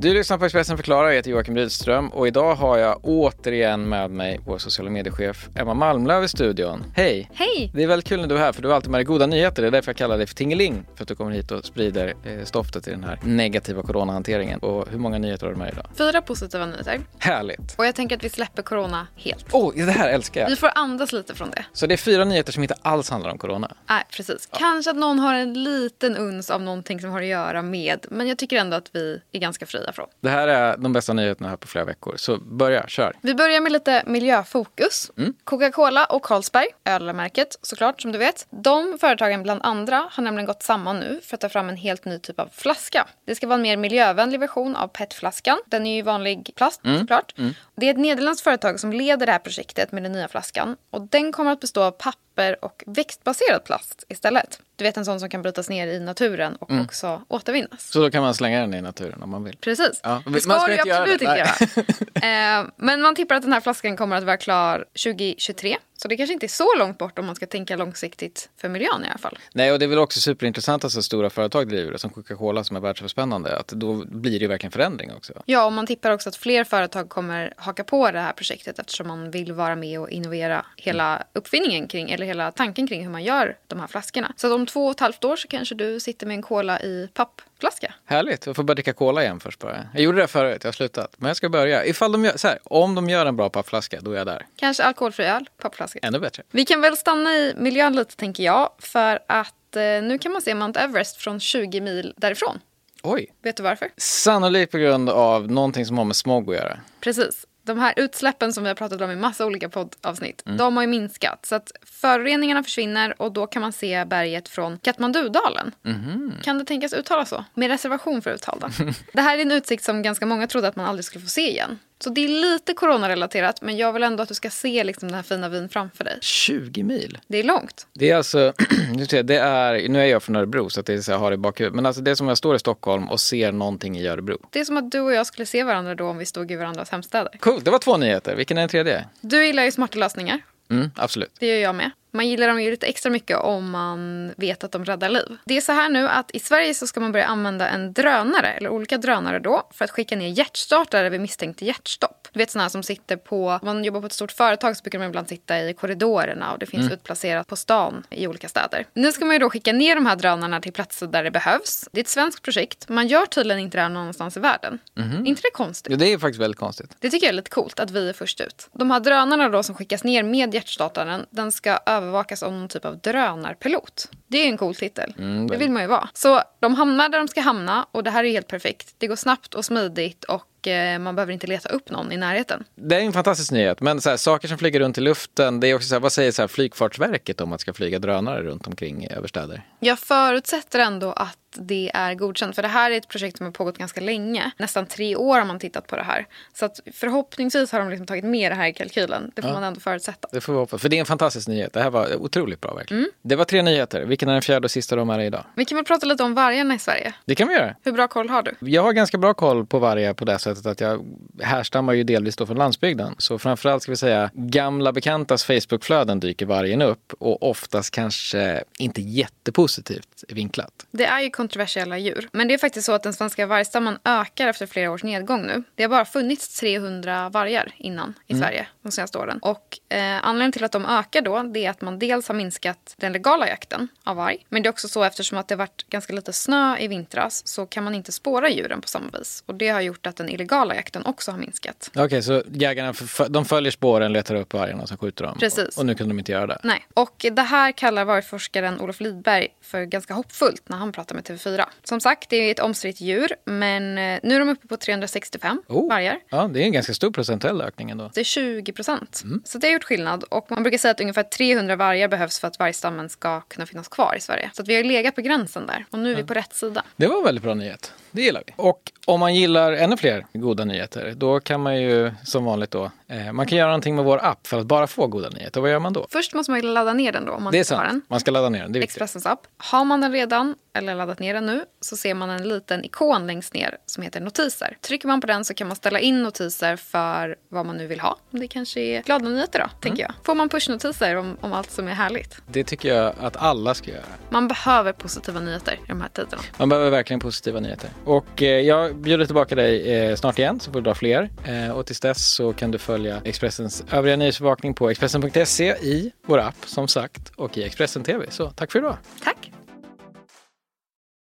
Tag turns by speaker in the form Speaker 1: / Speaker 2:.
Speaker 1: Du lyssnar på Expressen förklarar, jag heter Joakim Rydström och idag har jag återigen med mig vår sociala mediechef Emma Malmlöv i studion. Hej!
Speaker 2: Hej!
Speaker 1: Det är väldigt kul när du är här för du har alltid med dig goda nyheter. Det är därför jag kallar dig för Tingeling. För att du kommer hit och sprider eh, stoftet i den här negativa coronahanteringen. Och hur många nyheter har du med idag?
Speaker 2: Fyra positiva nyheter.
Speaker 1: Härligt!
Speaker 2: Och jag tänker att vi släpper corona helt.
Speaker 1: Åh, det här älskar jag!
Speaker 2: Vi får andas lite från det.
Speaker 1: Så det är fyra nyheter som inte alls handlar om corona.
Speaker 2: Nej, precis. Kanske att någon har en liten uns av någonting som har att göra med. Men jag tycker ändå att vi är ganska fria från.
Speaker 1: Det här är de bästa nyheterna här på flera veckor. Så börja, kör!
Speaker 2: Vi börjar med lite miljöfokus. Coca-Cola och Carlsberg, ölmärket såklart som du vet. De företagen bland andra har nämligen gått samman nu för att ta fram en helt ny typ av flaska. Det ska vara en mer miljövänlig version av PET-flaskan. Den är ju i vanlig plast såklart. Det är ett nederländskt företag som leder det här projektet med den nya flaskan. Och den kommer att bestå av papper och växtbaserad plast istället. Du vet en sån som kan brytas ner i naturen och också återvinnas.
Speaker 1: Så då kan man slänga den i naturen om man vill.
Speaker 2: Precis.
Speaker 1: Ja,
Speaker 2: det ska
Speaker 1: man ska
Speaker 2: du
Speaker 1: inte göra
Speaker 2: absolut
Speaker 1: det,
Speaker 2: inte göra. Eh, men man tippar att den här flaskan kommer att vara klar 2023. Så det kanske inte är så långt bort om man ska tänka långsiktigt för miljön i alla fall.
Speaker 1: Nej, och det är väl också superintressant att så stora företag driver det, som Coca-Cola som är världsöverspännande, att då blir det ju verkligen förändring också.
Speaker 2: Ja, och man tippar också att fler företag kommer haka på det här projektet eftersom man vill vara med och innovera hela
Speaker 1: Mm.
Speaker 2: uppfinningen kring, eller hela tanken kring hur man gör de här flaskorna. Så att om två och ett halvt år så kanske du sitter med en cola i pappflaska.
Speaker 1: Härligt, jag får börja dricka cola igen först bara. Jag gjorde det förut, jag har slutat. Men jag ska börja. Ifall de gör, så här, om de gör en bra pappflaska, då är jag där.
Speaker 2: Kanske alkoholfri öl, pappflaska.
Speaker 1: Ännu bättre.
Speaker 2: Vi kan väl stanna i miljön lite tänker jag. För att eh, nu kan man se Mount Everest från 20 mil därifrån.
Speaker 1: Oj.
Speaker 2: Vet du varför?
Speaker 1: Sannolikt på grund av någonting som har med smog att göra.
Speaker 2: Precis. De här utsläppen som vi har pratat om i massa olika poddavsnitt, de har ju minskat. Så att föroreningarna försvinner och då kan man se berget från Katmandudalen. Kan det tänkas uttala så? Med reservation för uttal då. Det här är en utsikt som ganska många trodde att man aldrig skulle få se igen. Så det är lite coronarelaterat, men jag vill ändå att du ska se liksom den här fina vyn framför dig.
Speaker 1: 20 mil?
Speaker 2: Det är långt.
Speaker 1: Det är alltså, nu, ser jag, det är, nu är jag från Örebro så att det är så jag har det i bakhuvudet. Men alltså det är som jag står i Stockholm och ser någonting i Örebro.
Speaker 2: Det är som att du och jag skulle se varandra då om vi stod i varandras hemstäder.
Speaker 1: Coolt, det var två nyheter. Vilken är den tredje?
Speaker 2: Du gillar ju smarta lösningar.
Speaker 1: Mm, absolut.
Speaker 2: Det gör jag med. Man gillar dem ju lite extra mycket om man vet att de räddar liv. Det är så här nu att i Sverige så ska man börja använda en drönare, eller olika drönare då, för att skicka ner hjärtstartare vid misstänkt hjärtstopp. Du vet sådana här som sitter på, om man jobbar på ett stort företag så brukar de ibland sitta i korridorerna och det finns utplacerat på stan i olika städer. Nu ska man ju då skicka ner de här drönarna till platser där det behövs. Det är ett svenskt projekt. Man gör tydligen inte det här någon annanstans i världen. inte det konstigt?
Speaker 1: Ja, det är faktiskt väldigt konstigt.
Speaker 2: Det tycker jag är lite coolt att vi är först ut. De här drönarna då som skickas ner med hjärtstartaren, den ska övervakas av någon typ av drönarpilot. Det är en cool titel. det vill man ju vara. Så de hamnar där de ska hamna och det här är helt perfekt. Det går snabbt och smidigt och eh, man behöver inte leta upp någon i närheten.
Speaker 1: Det är en fantastisk nyhet, men så här, saker som flyger runt i luften, det är också så här, vad säger så här, Flygfartsverket om att ska flyga drönare runt omkring i överstäder?
Speaker 2: Jag förutsätter ändå att det är godkänt. För det här är ett projekt som har pågått ganska länge. Nästan tre år har man tittat på det här. Så att förhoppningsvis har de liksom tagit med det här i kalkylen. Det får man ändå förutsätta.
Speaker 1: Det får vi hoppas, för det är en fantastisk nyhet. Det här var otroligt bra verkligen. Det var tre nyheter, vilken är den fjärde och sista du har med dig idag?
Speaker 2: Vi kan väl prata lite om vargarna i Sverige.
Speaker 1: Det kan vi göra.
Speaker 2: Hur bra koll har du?
Speaker 1: Jag har ganska bra koll på vargar på det sättet att jag härstammar ju delvis då från landsbygden. Så framförallt ska vi säga gamla bekantas Facebookflöden dyker vargen upp och oftast kanske inte jättepositivt vinklat.
Speaker 2: Det är ju kontroversiella djur. Men det är faktiskt så att den svenska vargstammen ökar efter flera års nedgång nu. Det har bara funnits 300 vargar innan i Sverige de senaste åren. Och eh, anledningen till att de ökar då, det är att man dels har minskat den legala jakten av varg. Men det är också så eftersom att det har varit ganska lite snö i vintras så kan man inte spåra djuren på samma vis. Och det har gjort att den illegala jakten också har minskat.
Speaker 1: Okej, så jägarna förf- de följer spåren, letar upp vargarna och sen skjuter de.
Speaker 2: Precis.
Speaker 1: Och, och nu kunde de inte göra det.
Speaker 2: Nej. Och det här kallar vargforskaren Olof Lidberg för ganska hoppfullt när han pratar med TV4. Som sagt, det är ett omstritt djur, men eh, nu är de uppe på 365
Speaker 1: Oh.
Speaker 2: vargar.
Speaker 1: Ja, det är en ganska stor procentuell ökning ändå.
Speaker 2: Det är 20 procent.
Speaker 1: Mm.
Speaker 2: Så det har gjort skillnad. Och man brukar säga att ungefär 300 vargar behövs för att vargstammen ska kunna finnas kvar i Sverige. Så att vi har ju legat på gränsen där och nu är vi på rätt sida.
Speaker 1: Det var en väldigt bra nyhet. Det gillar vi. Och om man gillar ännu fler goda nyheter, då kan man ju som vanligt då, eh, man kan göra någonting med vår app för att bara få goda nyheter. Vad gör man då?
Speaker 2: Först måste man ju ladda ner den då om man
Speaker 1: Det är
Speaker 2: inte har den.
Speaker 1: sant, man ska ladda ner den, det är viktigt.
Speaker 2: Expressens app. Har man den redan eller laddat ner den nu så ser man en liten ikon längst ner som heter notiser. Trycker man på den så kan man ställa in notiser för vad man nu vill ha. Det kanske är glada nyheter då, tänker jag. Får man pushnotiser om, om allt som är härligt.
Speaker 1: Det tycker jag att alla ska göra.
Speaker 2: Man behöver positiva nyheter i de här tiderna.
Speaker 1: Man behöver verkligen positiva nyheter. Och eh, jag bjuder tillbaka dig eh, snart igen så får du dra fler. Eh, och tills dess så kan du följa Expressens övriga nyhetsbevakning på Expressen.se i vår app som sagt och i Expressen TV. Så tack för idag.
Speaker 2: Tack!